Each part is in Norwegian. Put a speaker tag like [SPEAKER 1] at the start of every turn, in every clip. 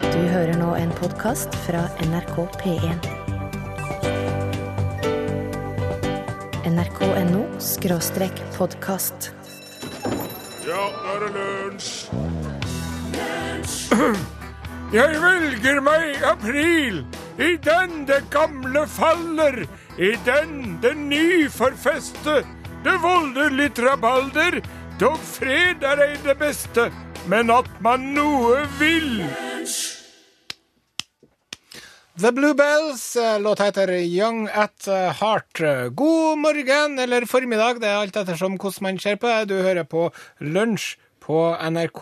[SPEAKER 1] Du hører nå en podkast fra NRK P1. NRK.no skråstrek podkast.
[SPEAKER 2] Ja, nå er det lunsj! Jeg velger meg april, i den det gamle faller, i den det nyforfeste. Det volder litt rabalder, dog fred er ei det beste, men at man noe vil.
[SPEAKER 3] The Bluebells, låt heter Young at eh, Heart. God morgen eller formiddag, det er alt ettersom hvordan man ser på det. Du hører på Lunsj på NRK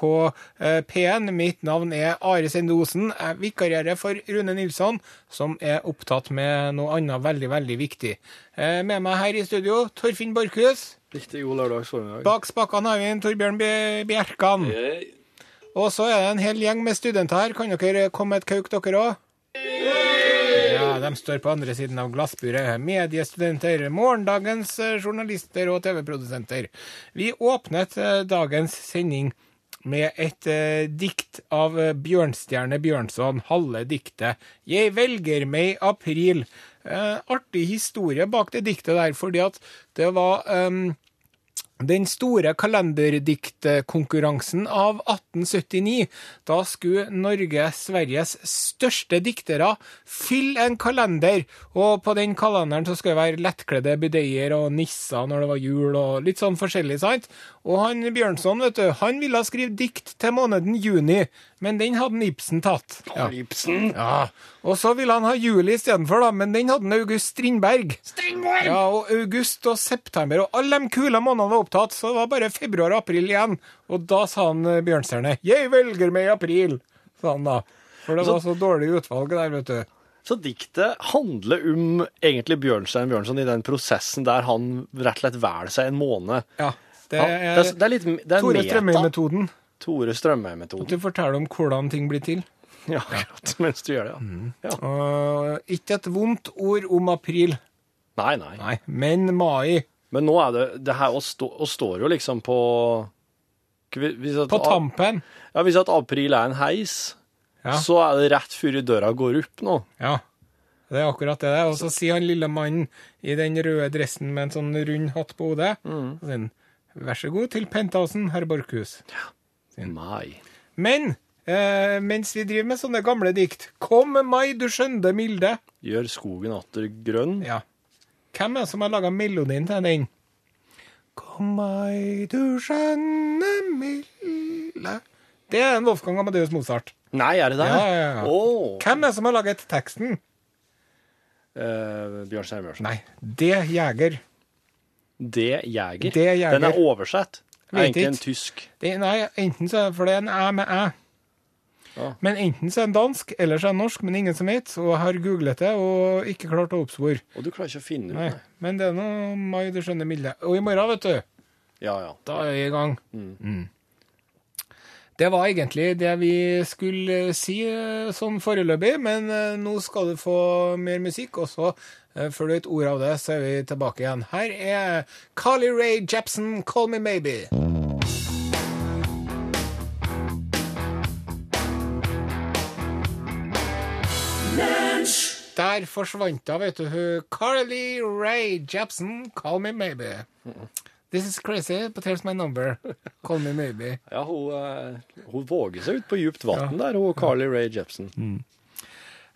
[SPEAKER 3] eh, P1. Mitt navn er Are Sendosen. Jeg vikarierer for Rune Nilsson, som er opptatt med noe annet veldig, veldig viktig. Eh, Med meg her i studio, Torfinn Borchhus.
[SPEAKER 4] Riktig god lørdags formiddag.
[SPEAKER 3] Bak spakene har vi en Torbjørn Bj- Bjerkan. Og så er det en hel gjeng med studenter her. Kan dere komme med et kauk, dere òg? Ja, de står på andre siden av glassburet. Mediestudenter, morgendagens eh, journalister og TV-produsenter. Vi åpnet eh, dagens sending med et eh, dikt av eh, Bjørnstjerne Bjørnson, halve diktet 'Jeg velger meg april'. Eh, artig historie bak det diktet der, fordi at det var ehm, den store kalenderdiktkonkurransen av 1879. Da skulle Norge, Sveriges største diktere, fylle en kalender. Og på den kalenderen så skulle det være lettkledde budeier og nisser når det var jul, og litt sånn forskjellig, sant? Og han Bjørnson, vet du, han ville skrive dikt til måneden juni, men den hadde han Ibsen tatt. Ja.
[SPEAKER 4] Ibsen.
[SPEAKER 3] Ja, og så ville han ha juli istedenfor, da, men den hadde han August Strindberg. Strindberg! Ja, og august og september, og alle de kule månedene var opptatt, så det var bare februar og april igjen. Og da sa han eh, Bjørnstjerne 'Jeg velger meg april', sa han da. For det var så dårlig utvalg der, vet du.
[SPEAKER 4] Så diktet handler om egentlig Bjørnstein Bjørnson i den prosessen der han rett og slett velger seg en måned.
[SPEAKER 3] Ja, det
[SPEAKER 4] Ja,
[SPEAKER 3] er
[SPEAKER 4] det er litt det er
[SPEAKER 3] Tore
[SPEAKER 4] meta.
[SPEAKER 3] Strømøy-metoden.
[SPEAKER 4] Tore
[SPEAKER 3] Du
[SPEAKER 4] Strømøy-metoden.
[SPEAKER 3] forteller om hvordan ting blir til.
[SPEAKER 4] Ja, akkurat mens du gjør det.
[SPEAKER 3] Mm.
[SPEAKER 4] Ja. ja.
[SPEAKER 3] Og ikke et vondt ord om april,
[SPEAKER 4] Nei, nei.
[SPEAKER 3] nei, men mai.
[SPEAKER 4] Men nå er det det her og, stå, og står jo liksom på hvis at,
[SPEAKER 3] På tampen.
[SPEAKER 4] Ja, hvis at april er en heis,
[SPEAKER 3] Ja.
[SPEAKER 4] så er det rett før døra går opp nå.
[SPEAKER 3] Ja, det er akkurat det. det. er. Og så sier han lille mannen i den røde dressen med en sånn rund hatt på hodet og sier, han, Vær så god til Penthausen, herr Borchhus.
[SPEAKER 4] Mai.
[SPEAKER 3] Men eh, mens vi driver med sånne gamle dikt Kom mai, du skjønne milde.
[SPEAKER 4] Gjør skogen atter grønn.
[SPEAKER 3] Ja. Hvem er det som har laga melodien til den? Kom mai, du skjønne milde Det er en Wolfgang Amadeus Mozart.
[SPEAKER 4] Nei, er det det?
[SPEAKER 3] Ja, ja, ja.
[SPEAKER 4] Åh.
[SPEAKER 3] Hvem er det som har laget teksten?
[SPEAKER 4] Eh, Bjørnstein Bjørnson.
[SPEAKER 3] Nei, det er Jeger.
[SPEAKER 4] Det Jeger.
[SPEAKER 3] Det Jeger.
[SPEAKER 4] Den er oversett. Det er
[SPEAKER 3] Vet
[SPEAKER 4] egentlig en
[SPEAKER 3] ikke.
[SPEAKER 4] tysk.
[SPEAKER 3] Det, nei, enten så er for det er en æ med æ.
[SPEAKER 4] Ja.
[SPEAKER 3] Men enten så er den dansk, eller så er den norsk, men ingen som vet. Og jeg har googlet det og ikke klart å oppspore.
[SPEAKER 4] Og du klarer ikke å finne ut
[SPEAKER 3] Nei.
[SPEAKER 4] det.
[SPEAKER 3] Men det er nå mai, du skjønner milde. Og i morgen, vet du,
[SPEAKER 4] Ja, ja.
[SPEAKER 3] da er vi i gang. Mm. Det var egentlig det vi skulle si eh, sånn foreløpig, men eh, nå skal du få mer musikk. Og så, eh, før du vet ordet av det, så er vi tilbake igjen. Her er Carly Rae Jepsen, 'Call Me Maybe'. Der forsvant hun, vet du. hun. Carly Rae Jepsen, 'Call Me Maybe'. This is crazy, but here's my number. Call me maybe.
[SPEAKER 4] ja hun, eh, hun våger seg ut på djupt vann der, hun Carly Rae Jepsen.
[SPEAKER 3] Mm.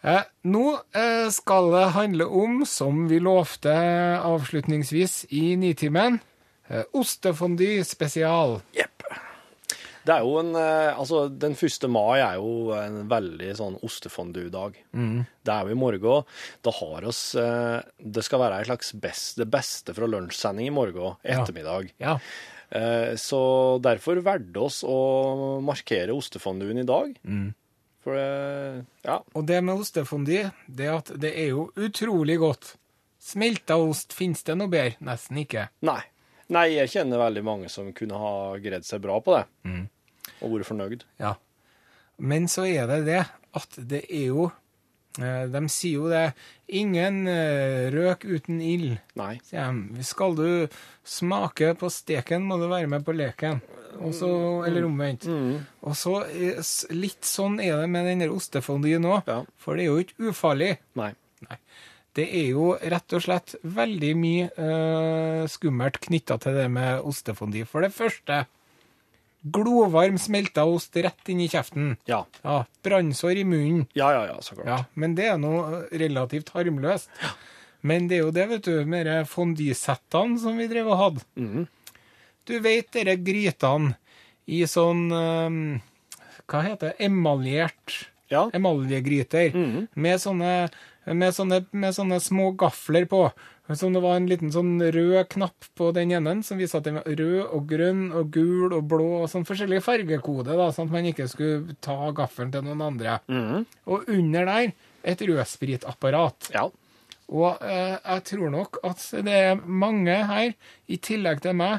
[SPEAKER 3] Eh, nå eh, skal det handle om, som vi lovte avslutningsvis i Nitimen, eh, ostefondy spesial.
[SPEAKER 4] Det er jo en eh, Altså, den første mai er jo en veldig sånn ostefondue-dag.
[SPEAKER 3] Mm.
[SPEAKER 4] Det er jo i morgen. Da har oss eh, Det skal være ei slags best, det beste fra lunsjsending i morgen ettermiddag.
[SPEAKER 3] Ja.
[SPEAKER 4] Eh, Så derfor valgte oss å markere ostefonduen i dag.
[SPEAKER 3] Mm.
[SPEAKER 4] For det Ja.
[SPEAKER 3] Og det med ostefondy, det at det er jo utrolig godt. Smelta ost, finnes det noe bedre? Nesten ikke.
[SPEAKER 4] Nei. Nei, jeg kjenner veldig mange som kunne ha greid seg bra på det.
[SPEAKER 3] Mm.
[SPEAKER 4] Og vært fornøyd.
[SPEAKER 3] Ja. Men så er det det at det er jo eh, De sier jo det Ingen eh, røk uten ild,
[SPEAKER 4] Nei.
[SPEAKER 3] sier de. Skal du smake på steken, må du være med på leken. Og så- eller omvendt. Og så eh, s- litt sånn er det med den der ostefondyen òg,
[SPEAKER 4] Ja.
[SPEAKER 3] for det er jo ikke ufarlig.
[SPEAKER 4] Nei.
[SPEAKER 3] Det er jo rett og slett veldig mye eh, skummelt knytta til det med ostefondy. For det første, glovarm smelta ost rett inn i kjeften.
[SPEAKER 4] Ja.
[SPEAKER 3] Ja, Brannsår i munnen.
[SPEAKER 4] Ja, ja, ja, så klart.
[SPEAKER 3] Ja, men det er noe relativt harmløst. Men det er jo det, vet du, med de fondysettene som vi drev og hadde.
[SPEAKER 4] Mm-hmm.
[SPEAKER 3] Du vet dere grytene i sånn eh, Hva heter det? Emaljert
[SPEAKER 4] Ja.
[SPEAKER 3] emaljegryter. Med, sånne, med, sånne, med sånne små gafler på. Som det var en liten sånn rød knapp på den enden, som viste at den var rød og grønn og gul og blå og sånn forskjellig fargekode, da, sånn at man ikke skulle ta gaffelen til noen andre. Og under der et rødspritapparat.
[SPEAKER 4] Ja.
[SPEAKER 3] Og eh, jeg tror nok at det er mange her, i tillegg til meg,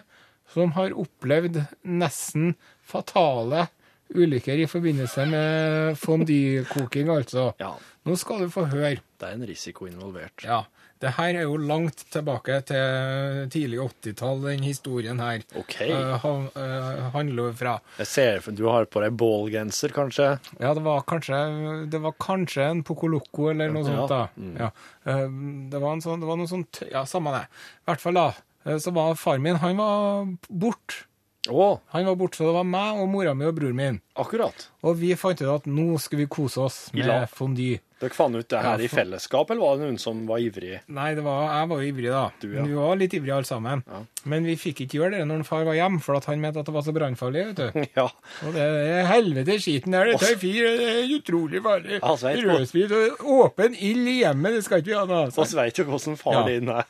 [SPEAKER 3] som har opplevd nesten fatale ulykker i forbindelse med fondykoking, altså.
[SPEAKER 4] ja.
[SPEAKER 3] Nå skal du få høre.
[SPEAKER 4] Det er en risiko involvert.
[SPEAKER 3] Ja, det her er jo langt tilbake til tidlig 80-tall, den historien her.
[SPEAKER 4] OK.
[SPEAKER 3] eh, han- eh, handler jo fra.
[SPEAKER 4] Jeg ser for- du har på deg bålgenser, kanskje?
[SPEAKER 3] Ja, det var kanskje, det var kanskje en Pocolocco eller noe
[SPEAKER 4] Ja. Mm.
[SPEAKER 3] sånt. da. Ja. Eh, Det var en sånn, det var noe sånt, ja, samme det. I hvert fall da, eh, så var far min, han var bort.
[SPEAKER 4] Å,
[SPEAKER 3] Han var bort, så det var meg og mora mi og bror min.
[SPEAKER 4] akkurat.
[SPEAKER 3] Og vi fant ut at nå skal vi kose oss
[SPEAKER 4] I
[SPEAKER 3] med
[SPEAKER 4] lag.
[SPEAKER 3] fondy.
[SPEAKER 4] Dere fant ut det her
[SPEAKER 3] Ja,
[SPEAKER 4] i
[SPEAKER 3] for-
[SPEAKER 4] fellesskap, eller var det noen som var ivrig?
[SPEAKER 3] Nei, det var, jeg var jo ivrig da.
[SPEAKER 4] Du, ja.
[SPEAKER 3] Vi var litt ivrige alle sammen.
[SPEAKER 4] Ja.
[SPEAKER 3] Men vi fikk ikke gjøre det når far var hjemme, for at han mente at det var så brannfarlig, vet du.
[SPEAKER 4] Ja.
[SPEAKER 3] Og det er helvete skiten her, dette er fyr, det er utrolig farlig.
[SPEAKER 4] Altså, jeg tror- Altså-
[SPEAKER 3] Rødsprit og åpen ild i hjemmet, det skal ikke vi ha noe av.
[SPEAKER 4] Vi vet jo hvordan far
[SPEAKER 3] Ja.
[SPEAKER 4] din er.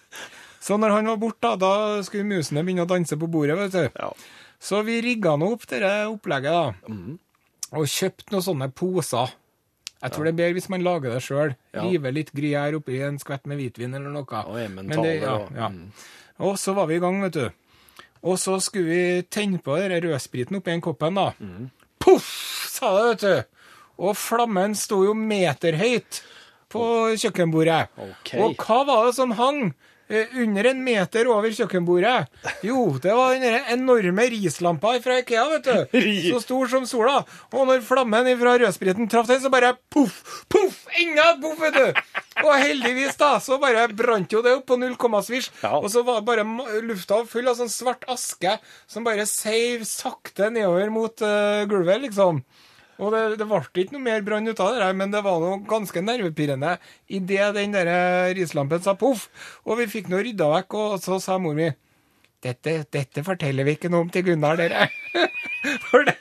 [SPEAKER 3] Så når han var borte, da, da skulle musene begynne å danse på bordet, vet du.
[SPEAKER 4] Ja.
[SPEAKER 3] Så vi rigga nå opp dette opplegget, da.
[SPEAKER 4] Mm.
[SPEAKER 3] Og kjøpte noen sånne poser. Jeg tror det er bedre hvis man lager det sjøl.
[SPEAKER 4] Ja.
[SPEAKER 3] Rive litt gruyère oppi en skvett med hvitvin eller noe. Men
[SPEAKER 4] Og
[SPEAKER 3] det-
[SPEAKER 4] emmentaler og- Mm.
[SPEAKER 3] ja, ja. Og så var vi i gang, vet du. Og så skulle vi tenne på den rødspriten oppi den koppen, da.
[SPEAKER 4] Mm.
[SPEAKER 3] Poff, sa det, vet du. Og flammen sto jo meterhøyt på kjøkkenbordet.
[SPEAKER 4] Ok.
[SPEAKER 3] Og hva var det som hang eh, under en meter over kjøkkenbordet? Jo, det var den der enorme rislampa fra Ikea, vet du.
[SPEAKER 4] Ri-
[SPEAKER 3] Så stor som sola. Og når flammen fra rødspriten traff den, så bare poff, poff, enda et poff, vet du. Og heldigvis, da, så bare brant jo det opp på null komma svisj.
[SPEAKER 4] Ja.
[SPEAKER 3] Og så var bare ma- lufta full av sånn svart aske som bare seiv sakte nedover mot eh, gulvet, liksom. Og det, det ble ikke noe mer brann ut av det, der, men det var noe ganske nervepirrende idet den der eh, rislampen sa poff. Og vi fikk nå rydda vekk, og så sa mor mi dette, dette forteller vi ikke noe om til Gunnar, dere. For det,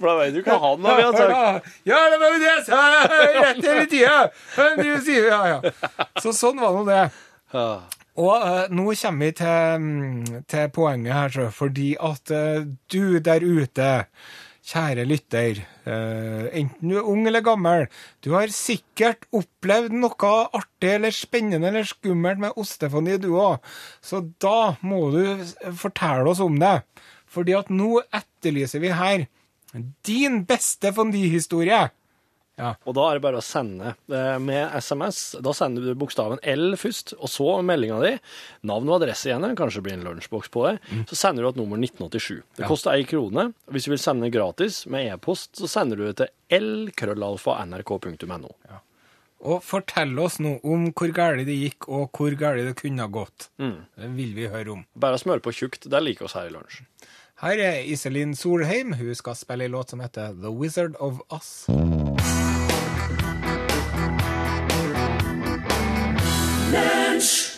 [SPEAKER 4] For da vet du hva han har.
[SPEAKER 3] for
[SPEAKER 4] Altså.
[SPEAKER 3] da- ja, det var jo det jeg sa! Rett hele tida! Men du sier ja, ja. Så sånn var nå det.
[SPEAKER 4] Ja.
[SPEAKER 3] Og eh, nå kommer vi til, mm, til poenget her, så, fordi at eh, du der ute, kjære lytter, eh, enten du er ung eller gammel, du har sikkert opplevd noe artig eller spennende eller skummelt med ostefoni, du òg. Så da må du s- fortelle oss om det. Fordi at nå etterlyser vi her din beste fondihistorie.
[SPEAKER 4] Og da er det bare å sende eh, med SMS. Da sender du bokstaven L først, og så meldinga di. Navn og adresse igjen, kanskje det blir en lunsjboks på det. Så sender du et nummer 1987. Det koster ei krone. Hvis du vil sende gratis med e-post, så sender du det til lkrøllalfa.nrk.no.
[SPEAKER 3] Og fortell oss nå om hvor galt det gikk, og hvor galt det kunne ha gått. Det vil vi høre om.
[SPEAKER 4] Bare smør på tjukt. Det liker oss her i lunsj.
[SPEAKER 3] Her er Iselin Solheim. Hun skal spille en låt som heter The Wizard of Us.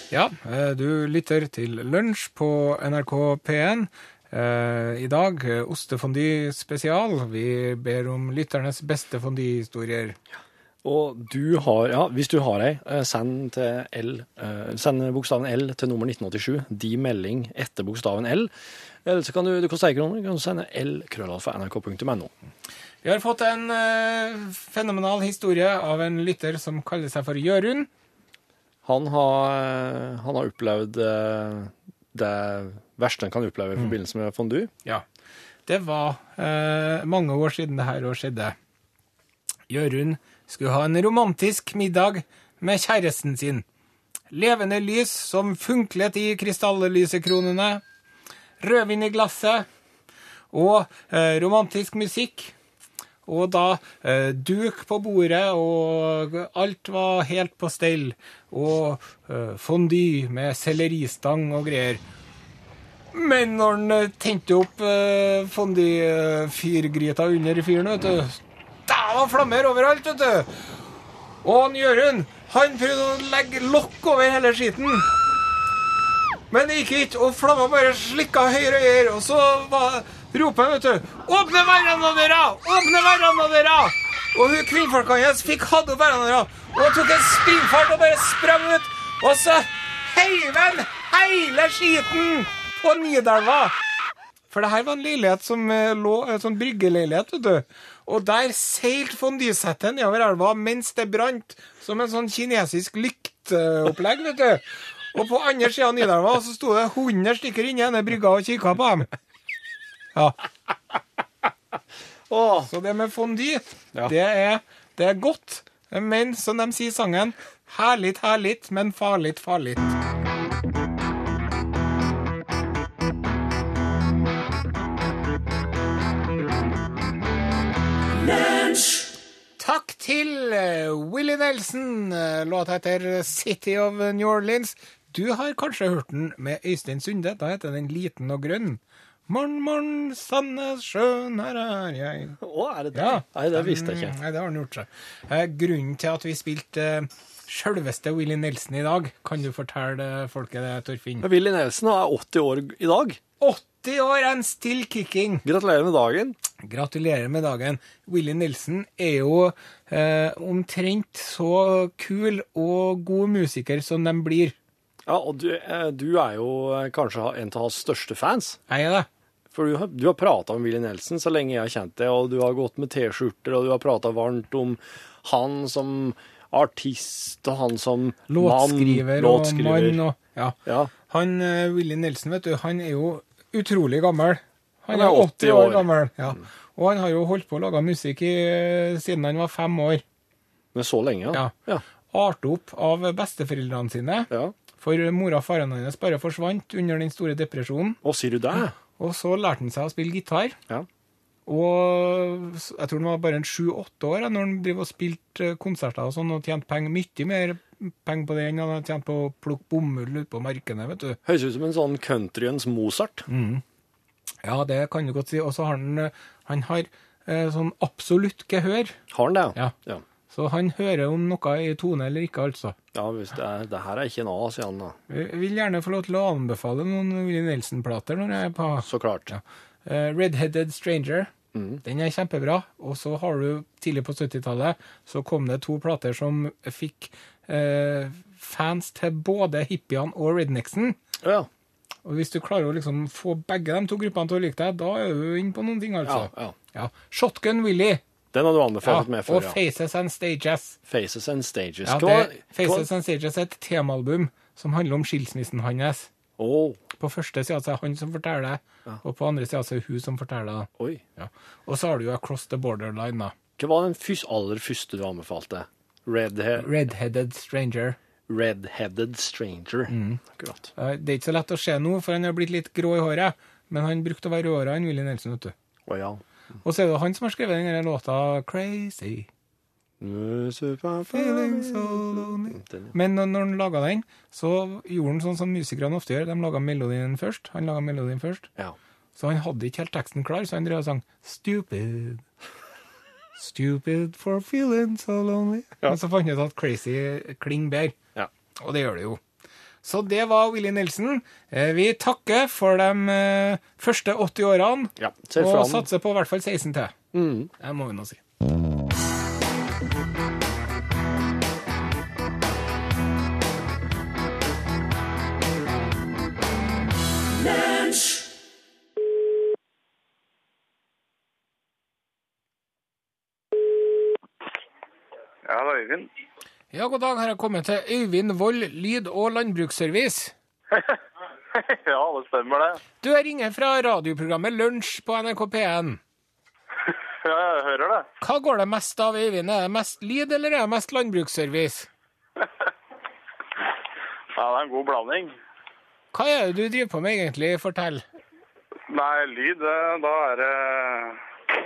[SPEAKER 3] Ja, eh, du lytter til Lunsj på NRK P1. Eh, I dag eh, ostefondy spesial. Vi ber om lytternes beste fondyhistorier.
[SPEAKER 4] Og du har, ja, hvis du har ei, eh, send, til L, eh, send bokstaven L til nummer 1987. De melding etter bokstaven L. Eller så kan du, det koster ei krone, kan du sende L krøllalfa nrk.no.
[SPEAKER 3] Vi har fått en eh, fenomenal historie av en lytter som kaller seg for Jørund.
[SPEAKER 4] Han har, eh, han har opplevd eh, det verste en kan oppleve i
[SPEAKER 3] Mm.
[SPEAKER 4] forbindelse med fondue.
[SPEAKER 3] Ja. Det var eh, mange år siden det her år skjedde. Jørund skulle ha en romantisk middag med kjæresten sin. Levende lys som funklet i krystalllysekronene. rødvin i glasset og eh, romantisk musikk. Og da eh, duk på bordet, og alt var helt på stell. Og eh, fondy med selleristang og greier. Men når han eh, tente opp eh, fondy-fyrgryta under fyren, vet du Da var flammer overalt, vet du! Og han Jørund, han prøvde å legge lokk over hele skiten. Men det gikk ikke, og flamma bare slikka høyere og høyere. Og så var, roper han, vet du, 'Åpne verandadøra! Åpne verandadøra!' Og hun kvinnfolka hans fikk hatt opp verandadøra, og han tok en springfart og bare sprang ut. Og så heiv han hele skiten på Nidelva. For det her var en leilighet som eh, lå En sånn bryggeleilighet, vet du. Og der seilte von Dysæten nedover elva mens det brant, som en sånn kinesisk lykteopplegg, vet du. Og på andre sida av Nidelva så sto det 100 stykker inni denne brygga og kikka på dem. Ja,
[SPEAKER 4] Åh,
[SPEAKER 3] Så det med fondy, det, er, det er godt. Men som de sier i sangen Herlig, herlig, men farlig, farlig. Takk til eh, Willie Nelson. eh, Låta heter City of New Orleans. Du har kanskje hørt den med Øystein Sunde. Da heter den Liten og grønn. Morn, morn, Sandnes sjøen, her er jeg.
[SPEAKER 4] Åh, er det det?
[SPEAKER 3] Ja.
[SPEAKER 4] Nei, det visste
[SPEAKER 3] Mm,
[SPEAKER 4] jeg ikke.
[SPEAKER 3] Nei, det har han gjort seg. Eh, grunnen til at vi spilte eh, sjølveste Willy Nelson i dag, kan du fortelle eh, folket det, Torfinn?
[SPEAKER 4] Men Willy Nelson er 80 år i dag.
[SPEAKER 3] 80 år and still kicking!
[SPEAKER 4] Gratulerer med dagen.
[SPEAKER 3] Gratulerer med dagen. Willy Nelson er jo eh, omtrent så kul og god musiker som de blir.
[SPEAKER 4] Ja, og du, eh, du er jo eh, kanskje en av hans største fans.
[SPEAKER 3] Er jeg det?
[SPEAKER 4] For du har, du har prata om Willy Nelson så lenge jeg har kjent deg, og du har gått med T-skjorter, og du har prata varmt om han som artist, og han som
[SPEAKER 3] Låtskriver,
[SPEAKER 4] mann,
[SPEAKER 3] og
[SPEAKER 4] låtskriver.
[SPEAKER 3] mann og ja.
[SPEAKER 4] Ja.
[SPEAKER 3] Han eh, Willy Nelson, vet du, han er jo utrolig gammel. Han
[SPEAKER 4] Han er
[SPEAKER 3] er 80 år
[SPEAKER 4] år. Mm.
[SPEAKER 3] gammel. Ja. Og han har jo holdt på å lage musikk i, eh, siden han var fem år.
[SPEAKER 4] Men så lenge, ja.
[SPEAKER 3] Ja.
[SPEAKER 4] Ja.
[SPEAKER 3] Art opp av besteforeldrene sine,
[SPEAKER 4] ja.
[SPEAKER 3] for mora og faren hans bare forsvant under den store depresjonen.
[SPEAKER 4] Og sier du det?
[SPEAKER 3] Og så lærte han seg å spille gitar.
[SPEAKER 4] Ja.
[SPEAKER 3] Og s- jeg tror han var bare en sju-åtte år ja, når han driver og spilte eh, konserter og sånn, og tjente penger, mye mer penger på det enn han hadde tjent på å plukke bomull ute på markene, vet du.
[SPEAKER 4] Høres ut som en sånn countryens Mozart.
[SPEAKER 3] Ja, det kan du godt si. Og så har han, eh, han har eh, sånn absolutt gehør.
[SPEAKER 4] Har han det?
[SPEAKER 3] Ja.
[SPEAKER 4] Ja,
[SPEAKER 3] Så han hører om noe i tone eller ikke, altså.
[SPEAKER 4] ja hvis det, er, det her er ikke en A, sier han da.
[SPEAKER 3] Jeg vil gjerne få lov til å anbefale noen Willy Nelson-plater når jeg er på
[SPEAKER 4] Så klart.
[SPEAKER 3] ja. Eh, Red-Headed Stranger.
[SPEAKER 4] Mm.
[SPEAKER 3] Den er kjempebra. Og så har du tidlig på 70-tallet så kom det to plater som fikk eh, fans til både hippiene og rednecksen.
[SPEAKER 4] Ja.
[SPEAKER 3] Og hvis du klarer å liksom få begge de to gruppene til å like deg, da er du inne på noen ting,
[SPEAKER 4] ja,
[SPEAKER 3] altså.
[SPEAKER 4] ja.
[SPEAKER 3] Ja. Shotgun Willy.
[SPEAKER 4] Den har du
[SPEAKER 3] Ja,
[SPEAKER 4] anbefalt meg
[SPEAKER 3] og
[SPEAKER 4] før, ja.
[SPEAKER 3] Faces and Stages.
[SPEAKER 4] Faces and Stages.
[SPEAKER 3] Ja,
[SPEAKER 4] Hva-
[SPEAKER 3] det, Faces and Stages er et temaalbum som handler om skilsmissen hans.
[SPEAKER 4] hva- Åh,
[SPEAKER 3] På første sida er det han som forteller, og på andre sida er det hun som forteller.
[SPEAKER 4] oi.
[SPEAKER 3] Ja. Og så har du jo Across the Borderline, da.
[SPEAKER 4] Hva var den fys aller første du anbefalte? Red,
[SPEAKER 3] Redheaded Stranger.
[SPEAKER 4] Red-headed stranger. Akkurat.
[SPEAKER 3] Eh, Det er ikke så lett å se nå, for han har blitt litt grå i håret. Men han brukte å være rødhåra, han Willy Nelson, vet du.
[SPEAKER 4] Å ja.
[SPEAKER 3] Og så er det han som har skrevet den der låta 'Crazy'. Feeling so lonely.
[SPEAKER 4] Den, ja.
[SPEAKER 3] Men når, når han laga den, så gjorde han sånn som musikerne ofte gjør. De laga melodien først. Han laget melodien først.
[SPEAKER 4] ja.
[SPEAKER 3] Så han hadde ikke helt teksten klar, så han drev og sang Stupid. Stupid for feeling so lonely. Men så fant han ut at crazy klinger bedre.
[SPEAKER 4] Ja.
[SPEAKER 3] Og det gjør det jo. Så det var Willy Nelson. Eh, Vi takker for de eh, første 80 årene,
[SPEAKER 4] ja. Ser
[SPEAKER 3] og
[SPEAKER 4] fram. Mm.
[SPEAKER 3] satser på i hvert fall 16 til. Det må vi nå si.
[SPEAKER 5] Ja, hallo, Øyvind.
[SPEAKER 3] Ja, god dag. Her er kommet til Øyvind Vold lyd- og landbruksservice.
[SPEAKER 5] ja, det stemmer det.
[SPEAKER 3] Du, jeg ringer fra radioprogrammet Lunsj på NRK P1.
[SPEAKER 5] Ja, jeg hører det.
[SPEAKER 3] Hva går det mest av, Øyvind? Er det mest lyd, eller er det mest landbruksservice?
[SPEAKER 5] Ja, det er en god blanding.
[SPEAKER 3] Hva er det du driver på med egentlig? Fortell.
[SPEAKER 5] Nei, lyd, det- da er det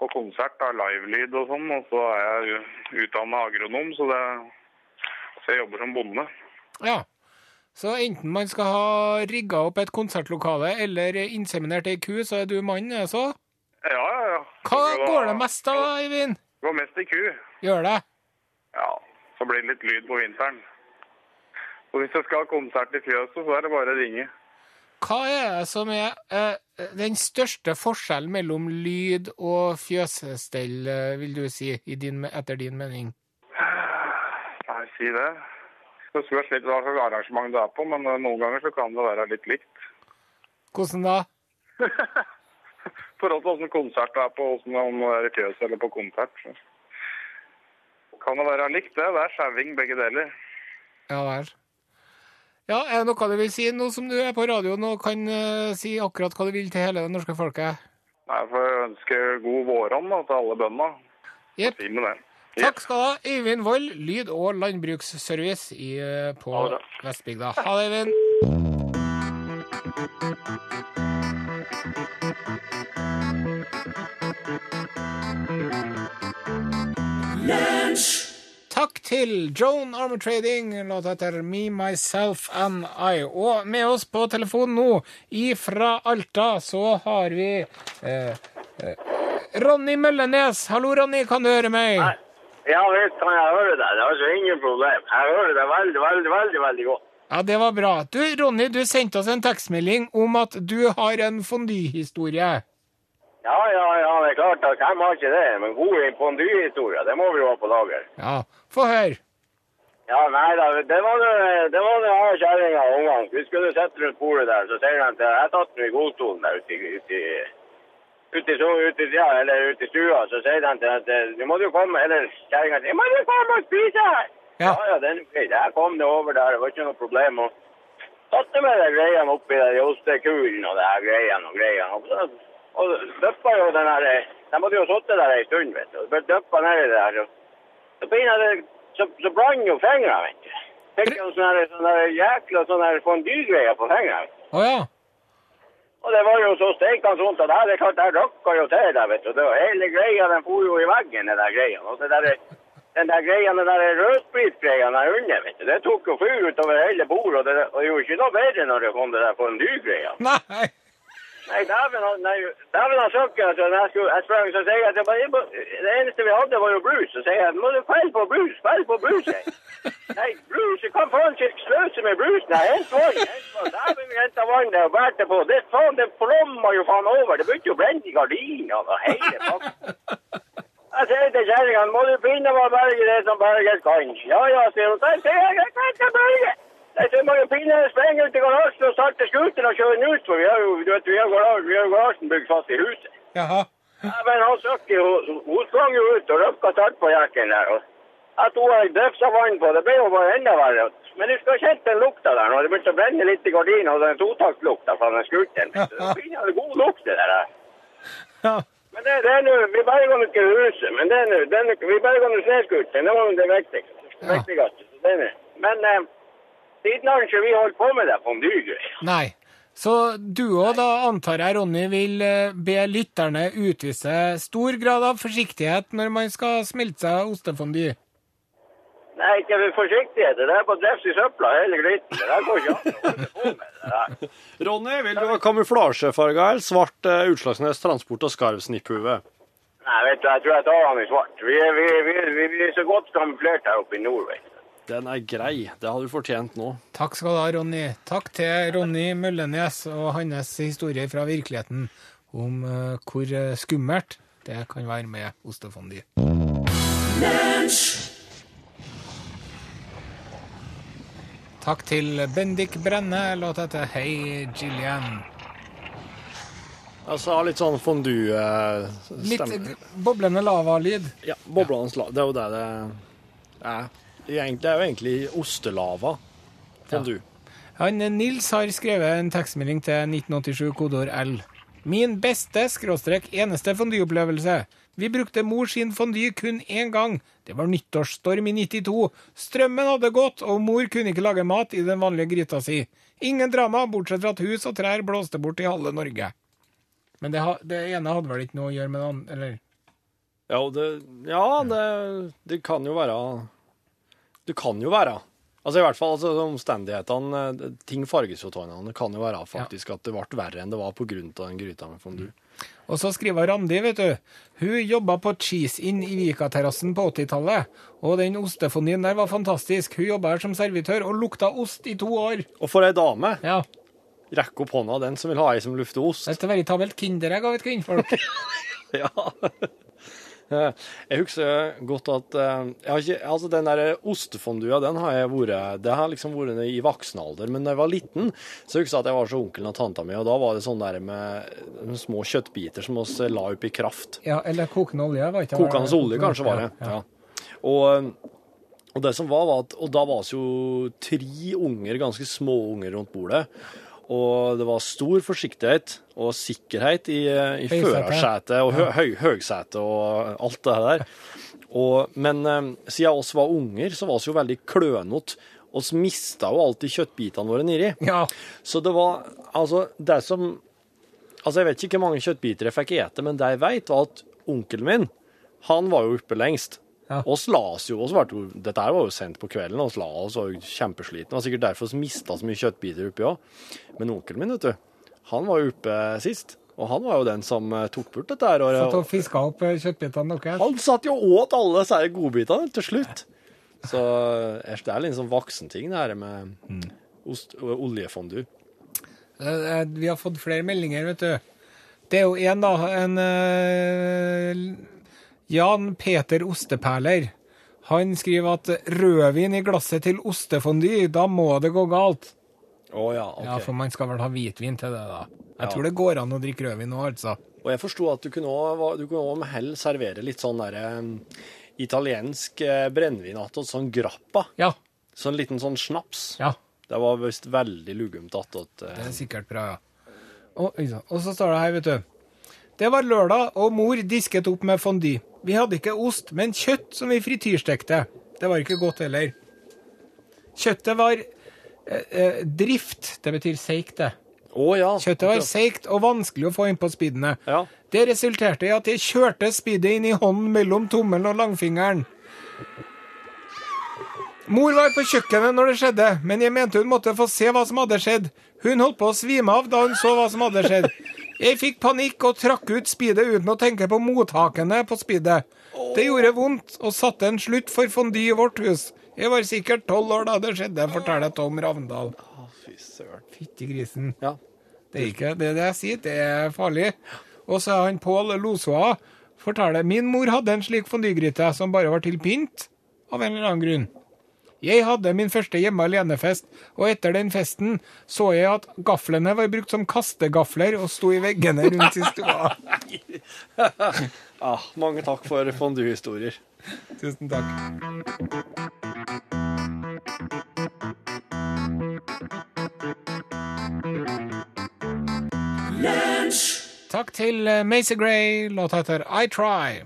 [SPEAKER 5] på konsert, da, livelyd og sånn. Og så er jeg utdanna agronom, så, det, så jeg jobber som bonde.
[SPEAKER 3] Ja. Så enten man skal ha rigga opp et konsertlokale eller inseminert ei ku, så er du mannen, altså?
[SPEAKER 5] Ja, ja, ja.
[SPEAKER 3] Hva
[SPEAKER 5] Så
[SPEAKER 3] går det mest av, Eivind?
[SPEAKER 5] Går mest i ku.
[SPEAKER 3] Gjør det?
[SPEAKER 5] Ja, så blir det litt lyd på vinteren. Og hvis jeg skal ha konsert i fjøset, så er det bare å ringe.
[SPEAKER 3] Hva er det som er eh, den største forskjellen mellom lyd og fjøsestell, eh, vil du si, i din, etter din mening?
[SPEAKER 5] Nei, si det. Det spørs litt hva slags arrangement det er på, men eh, noen ganger så kan det være litt likt.
[SPEAKER 3] Hvordan da?
[SPEAKER 5] forhold til hvordan konsert det er på, hvordan om det er i fjøs eller på konsert. Så. Kan det være likt det? Det er skjeving begge deler.
[SPEAKER 3] Ja vel. Ja, er det noe du vil si nå som du er på radioen og kan eh, si akkurat hva du vil til hele det norske folket?
[SPEAKER 5] Nei, for jeg ønsker god våronn da, til alle bøndene.
[SPEAKER 3] Jepp.
[SPEAKER 5] Si med det.
[SPEAKER 3] Takk skal du ha, Øyvind Vold, lyd- og landbruksservice i, eh, på
[SPEAKER 5] Ha det bra.
[SPEAKER 3] Vestbygda. Ha det, Øyvind. Takk til Joan Armour Trading, låta etter Me, Myself and I. Og med oss på telefon nå, ifra Alta, så har vi eh, eh, Ronny Møllenes. Hallo, Ronny, kan du høre meg?
[SPEAKER 6] Ja visst kan jeg høre deg. Det er altså ingen problem. Jeg hører deg veldig, veldig, veldig veldig godt.
[SPEAKER 3] Ja, det var bra. Du, Ronny, du sendte oss en tekstmelding om at du har en fondyhistorie.
[SPEAKER 6] Ja, ja, ja, det er klart at hvem har ikke det? Men gode fondyhistorier, det må vi jo ha på lager.
[SPEAKER 3] Ja, få høre.
[SPEAKER 6] Ja, nei da, det var det, det var det av kjerringa og ungene. Vi skulle sitte rundt bordet der, så sier de til Jeg satt nå i godstolen der ute i ute i, ute i, so- ute i, ja, eller ute i stua, så sier de til at du må du komme Eller kjerringa sier må du komme og spise her?
[SPEAKER 3] Ja.
[SPEAKER 6] Ja, ja, den er greit. Jeg kom det over der, det var ikke noe problem. Og satte med de greiene oppi der i ostekulen og det her greiene og greiene. Og, så- og døppa jo den her De måtte jo sitte der ei stund, vet du. Og ble døppa nedi der. Og, så begynner det Så, så brant jo fingra, vet du. Fikk jo sånne, her- sånne her jækla sånne her fondygreier på fingra.
[SPEAKER 3] Å ja.
[SPEAKER 6] Og det var jo så steikende vondt at her, det er klart, jeg rocka jo til deg, vet du. Det var hele greia, den for jo i veggen, den der greia. Og så der, den der greia, den der rødspritgreia der under, vet du. Det tok jo fyr utover hele bordet, og det og det gjorde ikke noe bedre når det kom det der fondygreia.
[SPEAKER 3] Nei.
[SPEAKER 6] Nei, dæven han- nei, dæven han søkker, altså. når Jeg, skulle, jeg sprang, så sier jeg at jeg bare, det eneste vi hadde var jo brus. Så sier jeg, må du felle på brus, fell på brus, jeg. Nei, brus, jeg kan faen ikke sløse med brus, nei, hent vann, hent vann. Dæven vi hentet vann der og bærte på. Det faen, det flommer jo faen over. Det begynte jo å brenne i gardinene og hele pakken. Jeg sier til kjerringa, må du finne hva berget det som berget kan. Ja, ja, sier hun. Jeg sier, jeg kan ikke berget. Jeg sier, må du finne sprenge ut i garasjen og starte skuteren og kjøre den ut, for vi har jo, du vet, vi har garasjen, vi har garasjen bygd fast i huset.
[SPEAKER 3] Jaha.
[SPEAKER 6] Ja, men han søkte jo, hun sprang jo ut og røpka start på jakken der, og jeg tror jeg drøfsa vann på, det ble jo bare enda verre. Men du skal ha kjent den lukta der, når det begynte å brenne litt i gardinen, og den totaktlukta fra den skuteren. vet du. Det blir jo god lukt det der, der.
[SPEAKER 3] Ja.
[SPEAKER 6] Men det, det er nå Vi berga nå ikke huset, men det er nå det er nå- Vi berga nå snøscooteren. Det var nå det viktigste.
[SPEAKER 3] Ja.
[SPEAKER 6] viktigste. så det er nå. Men eh, siden har ikke vi holdt på med det fondygreier.
[SPEAKER 3] Nei. Så du òg, da, antar jeg, Ronny, vil eh, be lytterne utvise stor grad av forsiktighet når man skal smelte seg ostefondy.
[SPEAKER 6] Nei, ikke ved forsiktighet. Det der er på drevs i søpla hele dritten. Det der går ikke an å holde på med. det der.
[SPEAKER 4] Ronny, vil du ha kamuflasjefarga eller svart eh, Utslagsnes Transport og skarv snipphue?
[SPEAKER 6] Nei, vet du, jeg tror jeg tar han i svart. Vi er, vi, vi, vi, vi er så godt kamuflert her oppe i nord, vet du.
[SPEAKER 4] Den er grei. Det hadde du fortjent nå.
[SPEAKER 3] Takk skal du ha, Ronny. Takk til Ronny Møllenes og hans historie fra virkeligheten om eh, hvor eh, skummelt det kan være med ostefondy. Takk til Bendik Brenne, låta heter Hei Gillian.
[SPEAKER 4] Altså litt sånn
[SPEAKER 3] Litt
[SPEAKER 4] fondue-stemme.
[SPEAKER 3] eh, boblende lavalyd.
[SPEAKER 4] Ja, boblenes la... Det er jo det det er. Egent- Det er jo egentlig ostelava. Fondue.
[SPEAKER 3] Han eh, Nils har skrevet en tekstmelding til 1987 kodeord L. Min beste skråstrek eneste fondyopplevelse. Vi brukte mor sin fondy kun én gang. Det var nyttårsstorm i 92. Strømmen hadde gått, og mor kunne ikke lage mat i den vanlige gryta si. Ingen drama, bortsett fra at hus og trær blåste bort i halve Norge. Men det, ha, det ene hadde vel ikke noe å gjøre med det andre, eller?
[SPEAKER 4] Ja, og det, ja det, det kan jo være Det kan jo være. Altså i hvert fall altså, omstendighetene eh, Ting farges jo av hverandre. Det kan jo være faktisk at det ble verre enn det var pga. den gryta med fondue.
[SPEAKER 3] Og så skriver Randi, vet du. Hun jobba på Cheese Inn i Vikaterrassen på 80-tallet. Og den ostefonien der var fantastisk. Hun jobba her som servitør og lukta ost i to år.
[SPEAKER 4] Og for ei dame!
[SPEAKER 3] Ja.
[SPEAKER 4] Rekk opp hånda, den som vil ha ei som lufter ost.
[SPEAKER 3] Et veritabelt kinderegg av et kvinnfolk.
[SPEAKER 4] Ja. Eh, Jeg husker godt at eh, jeg har ikke, altså Den der ostefondua den har jeg vært det har liksom vært i voksen alder. Men da jeg var liten, så husker jeg at jeg var så onkelen og tanta mi, og da var det sånn der med eh, små kjøttbiter som oss la opp i kraft.
[SPEAKER 3] Ja, eller kokende olje. var ikke det?
[SPEAKER 4] Kokende olje, kanskje, var det. Ja. Og, eh, og det som var, var at Og da var vi jo tre unger, ganske små unger, rundt bordet. Og det var stor forsiktighet og sikkerhet i, i
[SPEAKER 3] Høysetet.
[SPEAKER 4] førersetet og hø, høy, høgsetet og alt det der. Og, men eh, siden oss var unger, så var vi jo veldig klønete. Vi mista jo alltid kjøttbitene våre nedi.
[SPEAKER 3] Ja.
[SPEAKER 4] Så det var Altså, det som Altså, jeg vet ikke hvor mange kjøttbiter jeg fikk ete, men det jeg vet, var at onkelen min, han var jo oppe lengst.
[SPEAKER 3] Ja.
[SPEAKER 4] Oss la oss jo, oss var jo, Dette her var jo sent på kvelden, oss la oss var jo kjempesliten. Det var sikkert derfor vi mista så mye kjøttbiter oppi òg. Men onkelen min, vet du, han var jo oppe sist. Og han var jo den som eh, tok bort dette her.
[SPEAKER 3] Satt
[SPEAKER 4] Og,
[SPEAKER 3] og fiska opp eh, kjøttbitene deres.
[SPEAKER 4] han satt jo og åt alle disse her godbitene til slutt. Så eh, det er litt sånn voksenting, det her med
[SPEAKER 3] Mm.
[SPEAKER 4] ost, oljefondue.
[SPEAKER 3] Eh, eh, Vi har fått flere meldinger, vet du. Det er jo en, da. En eh, Jan Peter Osteperler. Han skriver at rødvin i glasset til ostefondy, da må det gå galt.
[SPEAKER 4] Å ja, OK.
[SPEAKER 3] Ja, for man skal vel ha hvitvin til det, da. Jeg
[SPEAKER 4] Ja.
[SPEAKER 3] tror det går an å drikke rødvin nå, altså.
[SPEAKER 4] Og jeg forsto at du kunne også- du kunne òg med hell servere litt sånn der em, italiensk eh, brennevin attåt, sånn grappa.
[SPEAKER 3] Ja.
[SPEAKER 4] Sånn liten sånn snaps.
[SPEAKER 3] Ja.
[SPEAKER 4] Det var visst veldig lugumt attåt. eh.
[SPEAKER 3] Det er sikkert bra, ja. Og, oi, sann. og så står det her, vet du. Det var lørdag, og mor disket opp med fondy. Vi hadde ikke ost, men kjøtt som vi frityrstekte. Det var ikke godt heller. Kjøttet var eh, eh, drift, det betyr seigt, det.
[SPEAKER 4] Å ja.
[SPEAKER 3] Kjøttet var seigt og vanskelig å få inn på speedene.
[SPEAKER 4] Ja.
[SPEAKER 3] Det resulterte i at jeg kjørte speedet inn i hånden mellom tommelen og langfingeren. Mor var på kjøkkenet når det skjedde, men jeg mente hun måtte få se hva som hadde skjedd. Hun holdt på å svime av da hun så hva som hadde skjedd. Jeg fikk panikk og trakk ut speedet uten å tenke på mottakene på speedet. Det gjorde vondt og satte en slutt for fondy i vårt hus. Jeg var sikkert tolv år da det skjedde, forteller Tom Ravndal.
[SPEAKER 4] Å, fy søren.
[SPEAKER 3] Fytti grisen.
[SPEAKER 4] Ja.
[SPEAKER 3] Det er ikke det, er det jeg sier, det er farlig. Og så er han Pål Losoa forteller min mor hadde en slik fondygryte som bare var til pynt av en eller annen grunn. Jeg hadde min første hjemme alene-fest, og etter den festen så jeg at gaflene var brukt som kastegafler og sto i veggene rundt i stua.
[SPEAKER 4] Ah, mange takk for fondue-historier.
[SPEAKER 3] Tusen takk. Takk til eh, Macy Gray. Låta heter I Try.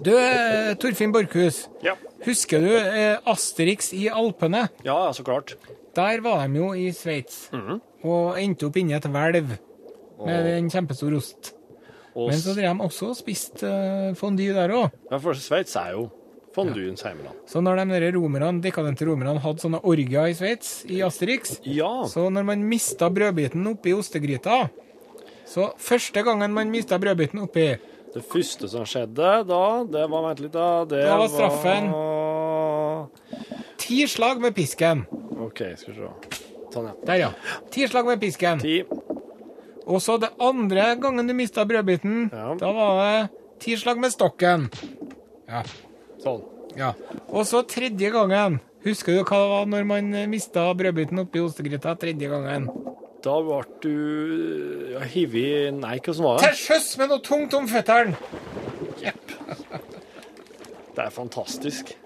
[SPEAKER 3] Du, eh, Torfinn Borchhus.
[SPEAKER 4] Ja.
[SPEAKER 3] Husker du eh, Asterix i Alpene?
[SPEAKER 4] ja, ja, så klart.
[SPEAKER 3] Der var de jo i Sveits og endte opp inni et hvelv med en kjempestor ost.
[SPEAKER 4] Og
[SPEAKER 3] Men så
[SPEAKER 4] s-
[SPEAKER 3] drev de også og spiste eh, fondy der òg.
[SPEAKER 4] ja, for Sveits er jo fonduens hjemland.
[SPEAKER 3] Så når de der romerne, dekadente romerne hadde sånne orgier i Sveits, i Asterix
[SPEAKER 4] Ja.
[SPEAKER 3] Så når man mista brødbiten oppi ostegryta Så første gangen man mista brødbiten oppi
[SPEAKER 4] Det første som skjedde da, det var Vent litt, da. Det
[SPEAKER 3] Da var straffen.
[SPEAKER 4] var-
[SPEAKER 3] Ti slag med pisken.
[SPEAKER 4] OK, skal vi se. Sånn, ja.
[SPEAKER 3] Der, ja. Ti slag med pisken.
[SPEAKER 4] Ti.
[SPEAKER 3] Og så det andre gangen du mista brødbiten,
[SPEAKER 4] Ja.
[SPEAKER 3] da var det ti slag med stokken. Ja.
[SPEAKER 4] Sånn.
[SPEAKER 3] ja. Og så tredje gangen. Husker du hva det var når man mista brødbiten oppi ostegryta tredje gangen?
[SPEAKER 4] Da ble du ja, hivet Nei, hva som var
[SPEAKER 3] Til
[SPEAKER 4] det?
[SPEAKER 3] sjøs med noe tungt om føttene!
[SPEAKER 4] Det er fantastisk.